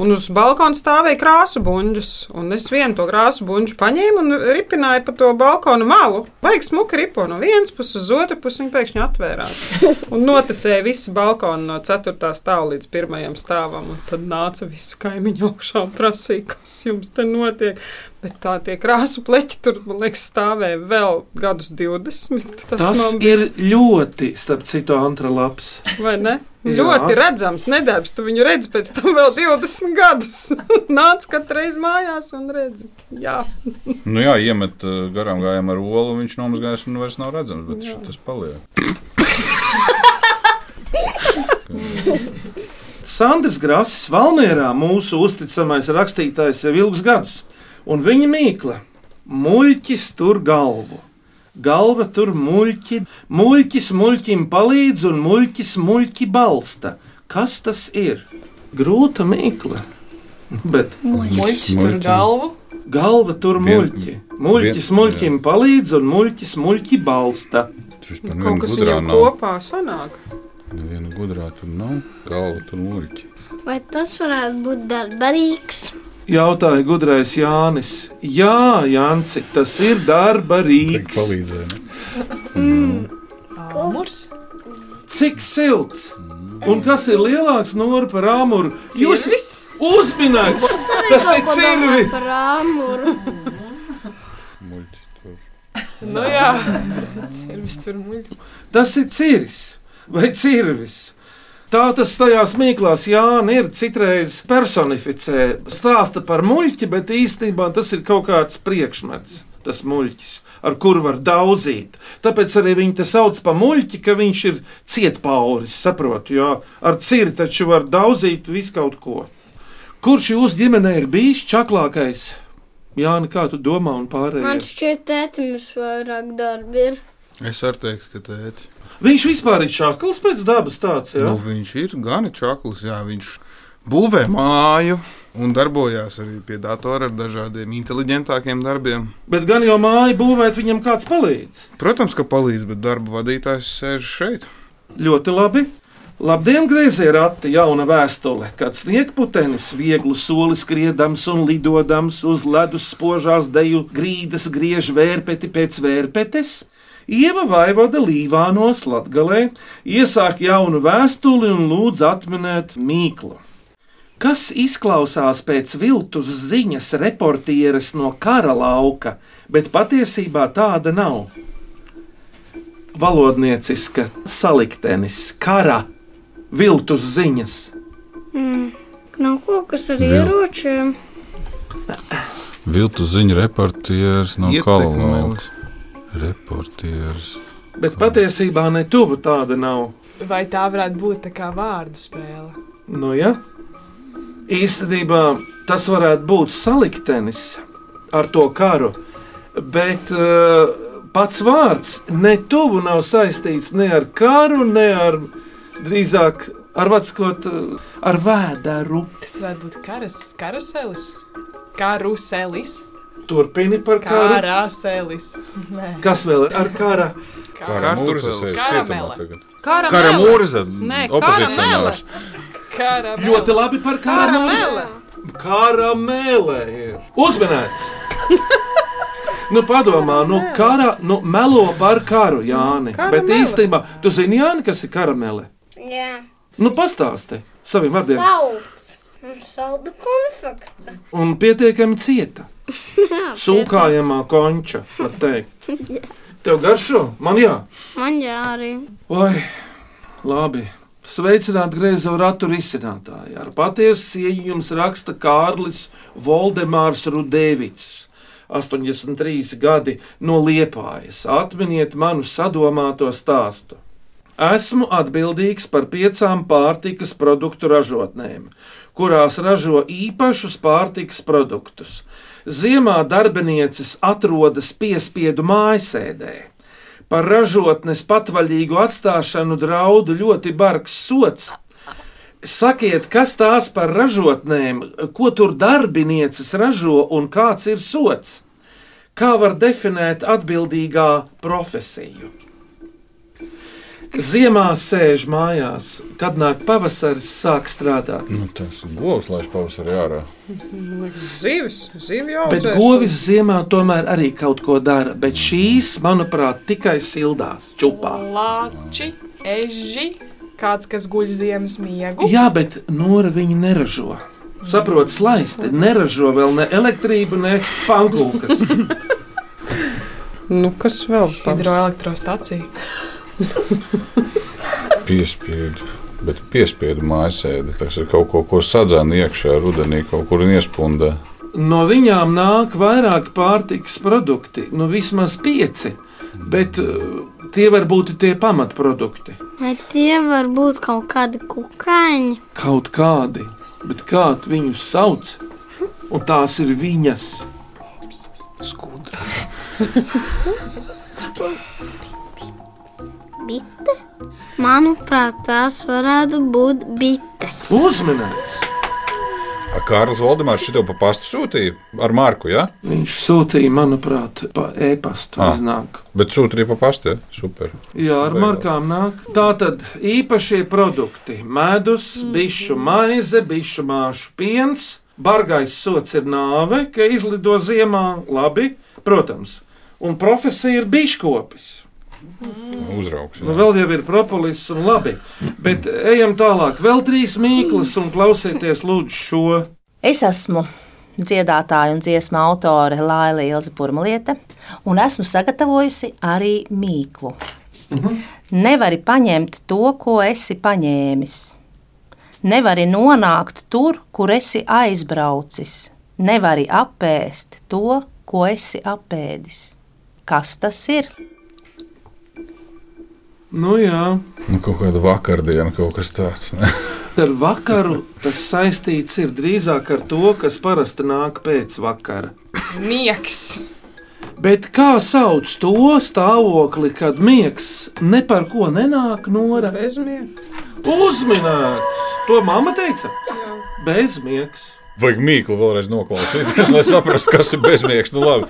Speaker 6: Un uz balkona stāvēja krāsa buļģis. Es vienu to krāsa buļģu paņēmu un ripināju pa to balkona malu. Baigi smuki ripo no vienas puses uz otru pusi. Viņa pēkšņi atvērās. Un noticēja visi balkoni no 4. stāva līdz 1. stāvam. Un tad nāca visi kaimiņi augšā un prasīja, kas jums te notiek. Bet tā tie krāsa pleķi tur, man liekas, stāvēja vēl gadus 20. Tas,
Speaker 3: tas
Speaker 6: man
Speaker 3: ir ļoti, starp citu, antra labs.
Speaker 6: Vai ne?
Speaker 3: Jā.
Speaker 6: Ļoti redzams, nedarbs. Tu viņu redzi pēc tam vēl 20 gadus. *laughs* Nāc katru reizi mājās un redzi. Jā,
Speaker 4: nu, jā iemet uh, garām gājām ar olu, viņš nomazgājās un vairs nav redzams, bet šis tas paliek.
Speaker 3: Sandrs Grāsis Valmērā mūsu uzticamais rakstītājs jau ilgus gadus, un viņa mīkla - muļķis tur galvu. Galva tur muļķi, muļķis muļķim palīdz un muļķis muļķi balsta. Kas tas ir? Grūta mīkla. *laughs* Bet
Speaker 5: Muļķis tur
Speaker 3: Muļķi.
Speaker 5: galvu.
Speaker 3: Galva tur muļķi. Muļķis muļķim palīdz un muļķis muļķi balsta.
Speaker 4: Kaut kas gudrā viņiem nav.
Speaker 6: kopā sanāk.
Speaker 4: Neviena gudrā tur nav, galva tur muļķi.
Speaker 7: Vai tas varētu būt darbarīgs?
Speaker 3: Jautāja gudrais Jānis. Jā, Jānis, tas ir darba rīks.
Speaker 5: Amurs.
Speaker 3: Cik silts! Un kas ir lielāks nori par āmuru? Jūs uzminējāt, tas ir cirvis!
Speaker 7: Rāmuru.
Speaker 5: Nu jā, cirvis tur muļķi.
Speaker 3: Tas ir cirvis vai cirvis. Tā tas tajās mīklās Jānis ir citreiz personificē. Stāsta par muļķi, bet īstenībā tas ir kaut kāds priekšmets, tas muļķis, ar kuru var daudzīt. Tāpēc arī viņi te sauc par muļķi, ka viņš ir cietpauris, saprotu, jo ar cirvi taču var daudzīt visu kaut ko. Kurš jūsu ģimenē ir bijis čaklākais? Jāni, kā tu domā un
Speaker 7: Man
Speaker 3: pārējais?
Speaker 7: šķiet, tētim ir vairāk darbi. ir.
Speaker 14: Es arī teiktu, ka tēti.
Speaker 3: Viņš vispār ir čakls pēc dabas tāds, jā?
Speaker 14: Nu, viņš ir gan čaklis, jā, viņš būvē māju un darbojās arī pie datora ar dažādiem inteliģentākiem darbiem.
Speaker 3: Bet gan jau māju būvēt viņam kāds palīdz.
Speaker 14: Protams, ka palīdz, bet darba vadītājs sēž šeit.
Speaker 3: Ļoti labi. Labdien, grazē rati, jauna vēstule, kad sniegputenis vieglu soli skriedams un lidodams uz ledus spožās deju grīdas griež vērpeti pēc vērpetes. Ieva vaivoda līvānos latgalē, iesāk jaunu vēstuli un lūdz atminēt mīklu. Kas izklausās pēc viltus ziņas reportieres no kara lauka, bet patiesībā tāda nav? valodnieciska saliktenis, kara, viltus ziņas.
Speaker 7: Mm. Nav kaut kas ar
Speaker 4: Jā.
Speaker 7: ieročiem.
Speaker 4: Viltu ziņu reportieris no
Speaker 14: Ietekmēlis.
Speaker 4: Kalavas. Reportieris.
Speaker 3: Bet patiesībā ne tuvu tāda nav.
Speaker 5: Vai tā varētu būt tā kā vārdu spēle?
Speaker 3: Nu, ja? Īstenībā tas varētu būt saliktenis ar to karu, bet uh, pats vārds ne tuvu nav saistīts ne ar karu, ne ar drīzāk ar vatskot, uh, ar vēdāru.
Speaker 5: Tas varētu būt karas, karuselis. Karuselis.
Speaker 3: Turpini par karu.
Speaker 5: Karuselis. Nē.
Speaker 3: Kas vēl ir ar kara?
Speaker 5: Karamele.
Speaker 6: Karamele.
Speaker 4: Karamūrza,
Speaker 6: Nē,
Speaker 4: opozicionārs.
Speaker 5: Karamele.
Speaker 3: Ļoti labi par karamele.
Speaker 5: Karamele.
Speaker 3: Karamele ir uzmanīts. Nu, padomā, nu, kara, nu, melo par karu, Jāni.
Speaker 7: Karamele.
Speaker 3: Bet īstenībā, tu zini, Jāni, kas ir karamele?
Speaker 7: Jā.
Speaker 3: Nu, pastāsti saviem vārdiem.
Speaker 7: Salds. Un salda konfekta.
Speaker 3: Un pietiekami
Speaker 7: *laughs*
Speaker 3: cieta,
Speaker 7: Jā,
Speaker 3: sūkājamā konča, var teikt.
Speaker 7: *laughs* Jā.
Speaker 3: Tev garšo? Man jā.
Speaker 7: Man jā arī.
Speaker 3: Oi, labi. Sveicināti griezo ratu risinātāji. Ar patiesu cieņu jums raksta Kārlis Voldemārs Rudēvits. 83 gadi no liepājas. Atminiet manu sadomāto stāstu. Esmu atbildīgs par piecām pārtikas produktu ražotnēm, kurās ražo īpašus pārtikas produktus. Ziemā darbinieces atrodas piespiedu mājasēdē. Par ražotnes patvaļīgu atstāšanu draudu ļoti bargs sots. Sakiet, kas tās par ražotnēm, ko tur darbinieces ražo un kāds ir sots? Kā var definēt atbildīgā profesiju? Ziemā sēž mājās, kad nāk pavasaris, sāk strādāt.
Speaker 4: Nu, tas govs laiž pavasarī ārā.
Speaker 6: Zivis, zivis jau
Speaker 3: Bet govis ziemā tomēr arī kaut ko dara, bet šīs, manuprāt, tikai sildās, čupā.
Speaker 5: Lāči, eži. Kāds, kas guļ ziemas miegu.
Speaker 3: Jā, bet nora viņi neražo. Saprotu, slaisti neražo vēl ne elektrību, ne pankūkas.
Speaker 6: Nu, kas vēl
Speaker 5: Hidroelektrostacija.
Speaker 4: Piespiedu. Bet piespiedu mājasēde. Tas ir kaut ko, ko sadzēna iekšā rudenī, kaut kur iespunda.
Speaker 3: No viņām nāk vairāk pārtikas produkti, nu vismaz pieci. Bet eh, Tie var būt tie pamatprodukti.
Speaker 7: Vai tie var būt kaut kādi kukaiņi?
Speaker 3: Kaut kādi, bet kā viņu sauc? Un tās ir viņas.
Speaker 7: Bite? Manuprāt, tās varētu būt bites.
Speaker 3: Uzmanīgs!
Speaker 4: A, Kārlis Valdemārs šito pa pastu sūtīja ar Marku, jā? Ja?
Speaker 3: Viņš sūtīja, manuprāt, pa e-pastu.
Speaker 4: Ah.
Speaker 3: iznāk.
Speaker 4: Bet sūta arī pa pastu, ja? super.
Speaker 3: Jā, ar markām nāk. Tā tad īpašie produkti - medus, bišu maize, bišu māšu piens. Bargais sots ir nāve, ka izlido ziemā, labi, protams. Un profesija ir biškopis.
Speaker 4: Uzraugs.
Speaker 3: Nu, vēl jau ir propolis un labi. Bet ejam tālāk. Vēl trīs mīklas un klausieties lūdzu šo.
Speaker 19: Es esmu dziedātāja un dziesmu autore Laila Ilza Burmliete, un esmu sagatavojusi arī mīklu. Nevari paņemt to, ko esi paņēmis. Nevari nonākt tur, kur esi aizbraucis. Nevari apēst to, ko esi apēdis. Kas tas ir?
Speaker 3: Nu, jā.
Speaker 4: Nu, kaut kāda vakardiena, kaut kas tāds. ne?
Speaker 3: Ar vakaru tas saistīts ir drīzāk ar to, kas parasti nāk pēc vakara.
Speaker 5: Miegs!
Speaker 3: Bet kā sauc to stāvokli, kad miegs ne par ko nenāk nora?
Speaker 6: Bezmiegs.
Speaker 3: Uzminēts! To mamma teica? Jā. Bezmiegs.
Speaker 4: *laughs* Vajag mīklu vēlreiz noklausīties, *laughs* lai saprastu, kas ir bezmiegs. Nu, labi.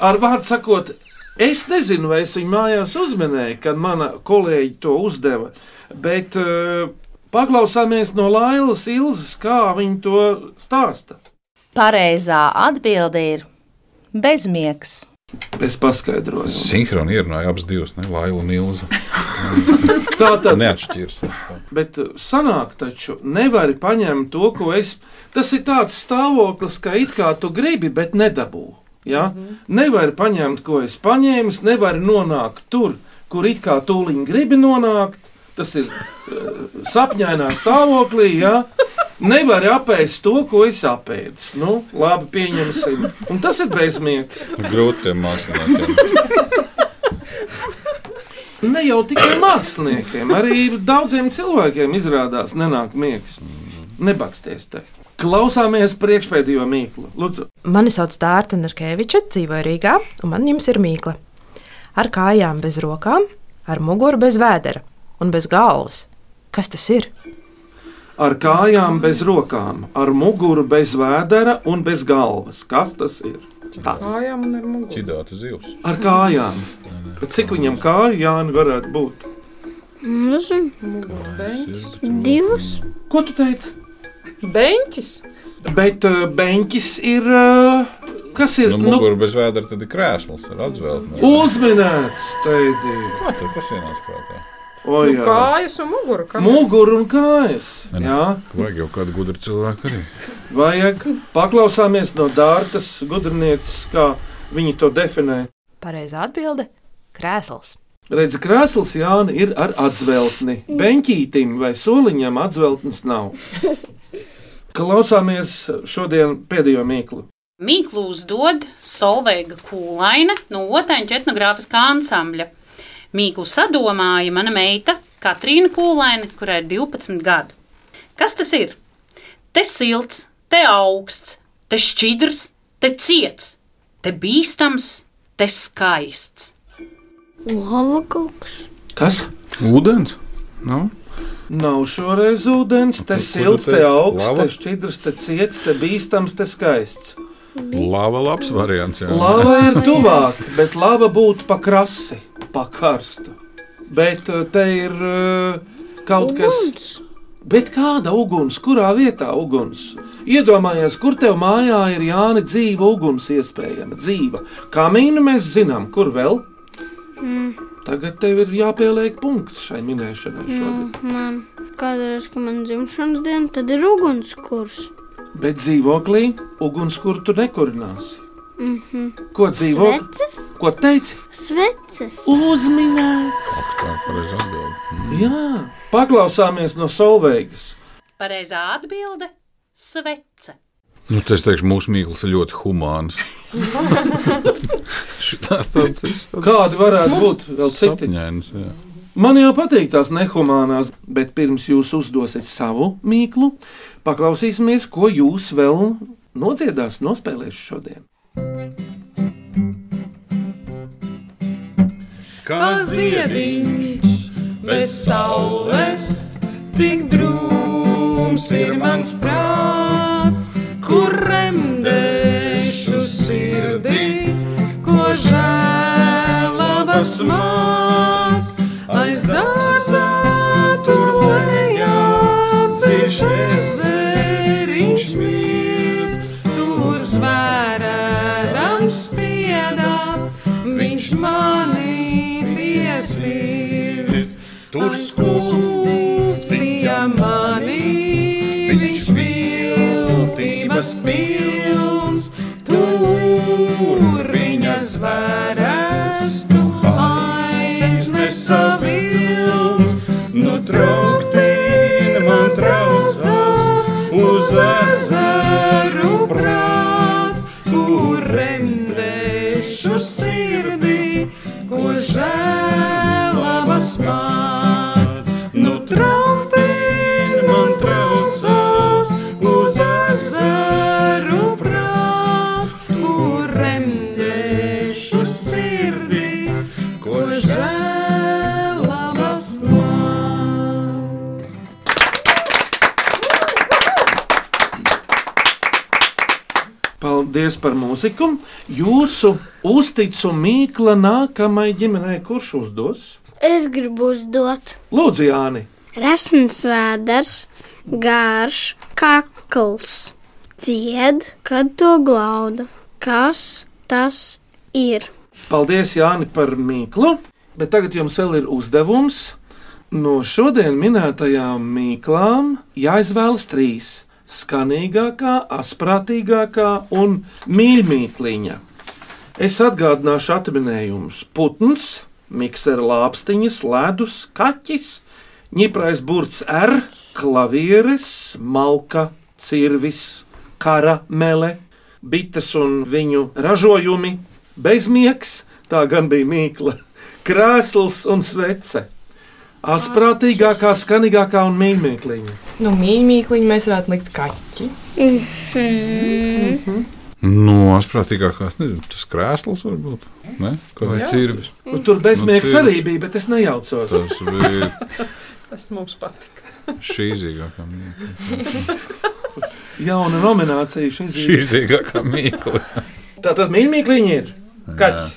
Speaker 3: Ar vārdu sakot, es nezinu, vai es viņu mājās uzminēju, kad mana kolēģi to uzdeva. Bet eh, paklausāmies no Lailas Ilzas, kā viņa to stāsta.
Speaker 19: Pareizā atbilde ir bezmiegs.
Speaker 3: Es paskaidroju.
Speaker 4: Sinhroni ierunāja abas divas, ne? Laila un Ilza.
Speaker 3: Tā tad
Speaker 4: *laughs* neatšķirs.
Speaker 3: Bet uh, sanāk, taču nevari paņemt to, ko es. Tas ir tāds stāvoklis, ka it kā tu gribi, bet nedabū. Ja? Mm -hmm. Nevari paņemt, ko es paņēmu, nevari nonākt tur, kur it kā tūlīt gribi nonākt. Tas ir uh, sapņainā stāvoklī. Ja? Nevari apēst to, ko es apēdu. Nu, labi, pieņemsim. Un tas ir bezmīgs.
Speaker 4: Grūtiem māksliniekiem.
Speaker 3: Ne jau tikai māksliniekiem, arī daudziem cilvēkiem izrādās nenāk miegs. Nebaksties te. Klausāmies priekšpēdējo mīklu. Lūdzu,
Speaker 20: Mani sauc Dārta Narkeviča, dzīvoju Rīgā, un man jums ir mīkla. Ar kājām bez rokām, ar muguru bez vēdera un bez galvas. Kas tas ir?
Speaker 3: ar kājām bez rokām, ar muguru bez vēdera un bez galvas. Kas tas ir? Tas.
Speaker 6: Kājām un ar muguru.
Speaker 4: Čidāta zivs.
Speaker 3: Ar kājām. Bet cik viņam kāju Jāni varētu būt?
Speaker 7: Nezinu. Divas.
Speaker 3: Ko tu teici?
Speaker 6: Beņķis.
Speaker 3: Bet uh, beņķis ir. Uh, kas ir?
Speaker 4: Nu, muguru bez vēdera tad ir krēsls ar atzveltni.
Speaker 3: uzminēts, teidīgi.
Speaker 4: Kā tur kas ienāca prātā?
Speaker 3: O,
Speaker 6: Nu,
Speaker 3: jā.
Speaker 6: kājas un muguru. kāpēc?
Speaker 3: Muguru un kājas. Jā.
Speaker 4: Vajag jau kādu gudru cilvēku arī.
Speaker 3: Vajag paklausāmies no Dārtas gudrnieces, kā viņi to definē.
Speaker 20: Pareizā atbilde - krēsls.
Speaker 3: Redz, krēsls Jāna ir ar atzveltni. Benķītim vai soliņam atzveltnes
Speaker 20: *laughs*
Speaker 3: nav. Klausāmies šodien pēdējo mīklu.
Speaker 21: Mīklu uzdod Solveiga Kūlaina no Otaņa etnogrāfiskā ansambļa. Mīklu sadomāja mana meita Katrīna Kūlaina, kurai ir 12 gadu. Kas tas ir? Te silts, te augsts, te šķidrs, te ciets, te bīstams, te skaists.
Speaker 7: Lava kaut kas.
Speaker 3: Kas?
Speaker 14: Ūdens? Nu?
Speaker 3: Nav šoreiz ūdens, te silts, te augsts, te šķidrs, te ciets, te bīstams, te skaists.
Speaker 4: Lava labs variants. Jā.
Speaker 3: Lava ir tuvāk, bet lava būtu pa krasi, pa karstu. Bet eh, te ir eh, kaut kas. Bet kāda uguns, kurā vietā uguns? Iedomājies, kur tev mājā ir Jāni dzīva uguns, iespējama dzīva. Kamīnu mēs zinām, kur vēl.
Speaker 7: Mm.
Speaker 3: Tagad tev ir jāpieliek punkts šai minēšanai šodien.
Speaker 7: Nu, man kādreiz, kad man dzimšanas diena, tad ir ugunskurs.
Speaker 3: Bet dzīvoklī uguns, kur tu nekurināsi.
Speaker 7: Mm -hmm.
Speaker 3: Ko dzīvo?
Speaker 7: Sveces?
Speaker 3: Ko teici?
Speaker 7: Sveces.
Speaker 3: Uzminēts.
Speaker 4: Tā ir pareiza atbilde.
Speaker 3: Jā, paklausāmies no Solveigas.
Speaker 21: Pareizā atbilde - svece.
Speaker 4: Nu, tas, teikšu, mūsu mīklas ir ļoti humāns. *laughs* Šitās tāds ir.
Speaker 3: Kādi varētu būt vēl citi?
Speaker 4: Sapņainas, jā.
Speaker 3: Man jau patīk tās nehumānās, bet pirms jūs uzdosiet savu mīklu, paklausīsimies, ko jūs vēl nodziedās, nospēlēs šodien.
Speaker 6: kā ziediņš bez saules. Tik drūms ir mans prāts, kur remdešu sirdī, ko žēlabas māc. Aiz dārzā tur lejā cieš ezeriņš mirts, tur zvērēdams spiedā, viņš mani piesirds. Tur skumstījā mani, viņš viltības pilns, tur viņa zvērēstu aiznesa vilns. Nu trauktīn man traucās uz ezeru prāts, kur remdešu sirdī, ko žēlabas māc. Nu trauktīn man traucās uz ezeru prāts, kur remdešu sirdī, ko žēlabas māc.
Speaker 3: Paldies par mūziku. Jūsu uzticu mīkla nākamajai ģimenei, kurš uzdos?
Speaker 7: Es gribu uzdot
Speaker 3: Lūdzu, Jāni,
Speaker 7: resns vēders, garš kakls. Cied, kad to glauda. Kas tas ir?
Speaker 3: paldies Jāni par mīklu, bet tagad jums vēl ir uzdevums. No šodien minētajām mīklām jāizvēlas trīs - skanīgākā, asprātīgākā un mīļākā. Es atgādināšu atminējumus: putns, miksera lāpstiņas, ledus, kaķis, ņiprais burts R, klavieres, malka, cirvis, karamele, bites un viņu ražojumi, bezmiegs, tā gan bija mīkla, *laughs* krēsls un svece. Asprātīgākā, skanīgākā un mīļākā.
Speaker 5: Nu, mīmīkliņi mēs varētu likt kaķi.
Speaker 4: Nu, asprātīgākās, nezinu, tas krēsls varbūt. Ne? Kā vai
Speaker 3: Jā.
Speaker 4: cirvis?
Speaker 3: Tur bezmiegs
Speaker 4: Nu, cirvis.
Speaker 3: arī bija, bet es nejaucos.
Speaker 4: Tas bija
Speaker 22: Tas mums patika.
Speaker 4: šī zīgākā mīkla.
Speaker 3: Jauna nominācija šī
Speaker 4: Šī zīgākā mīkla.
Speaker 3: Tā tad mīļākā ir kaķis.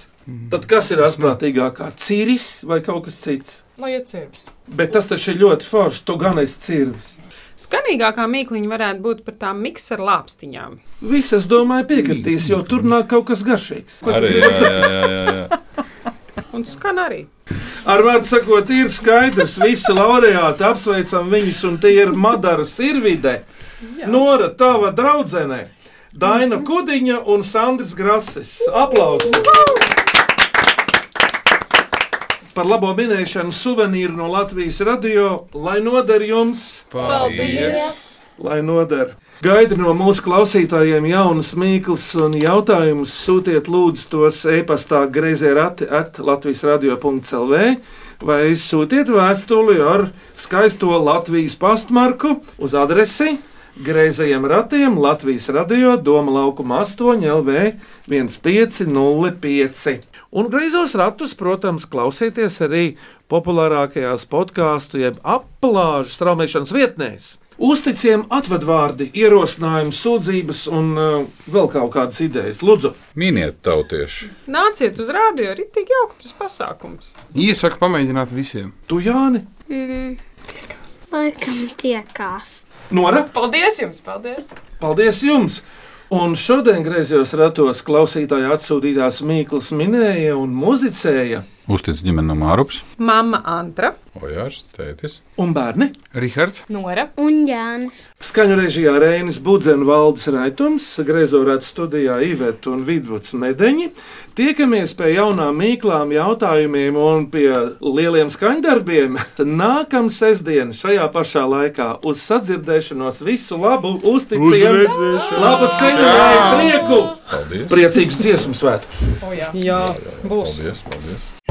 Speaker 3: Tad kas ir asprātīgākā? Cīris vai kaut kas cits?
Speaker 5: Lai iecirbi.
Speaker 3: Bet tas taču ir ļoti forši. Tu gan esi cirvis.
Speaker 22: Skanīgākā mīkliņa varētu būt par tām miksera lāpstiņām.
Speaker 3: Visas, domāju, piekritīs, jo tur nāk kaut kas garšīgs.
Speaker 4: Arī, jā, jā, jā, jā, jā.
Speaker 22: Un skan arī.
Speaker 3: Ar vārdu sakot, ir skaidrs, visi laureāti apsveicam viņus, un tie ir Madara Sirvide, Nora, tava draudzene, Daina Kudiņa un Sandrs Grasis. Aplausi! Par labo minēšanu suvenīru no Latvijas radio, lai noder jums!
Speaker 6: Paldies!
Speaker 3: Lai noder! Gaidu no mūsu klausītājiem jaunas mīklas un jautājumus. Sūtiet lūdzu tos e-pastā greizērati at Latvijas radio.clv vai sūtiet vēstuli ar skaisto Latvijas pastmarku uz adresi Greizajiem ratiem Latvijas radio Doma laukuma 8 LV 1505. Un greizos ratus, protams, klausieties arī populārākajās podkāstu jeb aplāžu straumēšanas vietnēs. Uzticiem atvadvārdi, ierosinājumi, sūdzības un uh, vēl kaut kādas idejas. Lūdzu,
Speaker 4: Miniet tautieši.
Speaker 22: Nāciet uz rādio, arī tik jauks tas pasākums.
Speaker 14: Iesaku pamēģināt visiem.
Speaker 3: Tu, Jāni,
Speaker 7: Mm. Laikam tiekās.
Speaker 3: Nora,
Speaker 5: Paldies jums! Paldies!
Speaker 3: paldies jums! Un šodien griezos ratos klausītāji atsūtītās mīklas minēja un muzicēja
Speaker 4: Uztic ģimenam ārpus.
Speaker 6: Māma Antra.
Speaker 4: Ojārs, tētis.
Speaker 3: Un bērni?
Speaker 14: Rihards.
Speaker 5: Nora.
Speaker 7: Un Jānis.
Speaker 3: Skaņu režijā Rēnis Budzens, Valdis Raitums, Grezorāta studijā Iveta un Vidvuds Medeņi. Tiekamies pie jaunām mīklām jautājumiem un pie lieliem skaņdarbiem. Nākamā sestdiena šajā pašā laikā uz sadzirdēšanos visu labu, uzticību,
Speaker 4: redzēšanos!
Speaker 3: labu ceļu, lai prieku!
Speaker 4: Paldies!
Speaker 3: Priecīgs dziesmu svētku!
Speaker 6: Oh, jā. jā, būs.
Speaker 4: Paldies, paldies!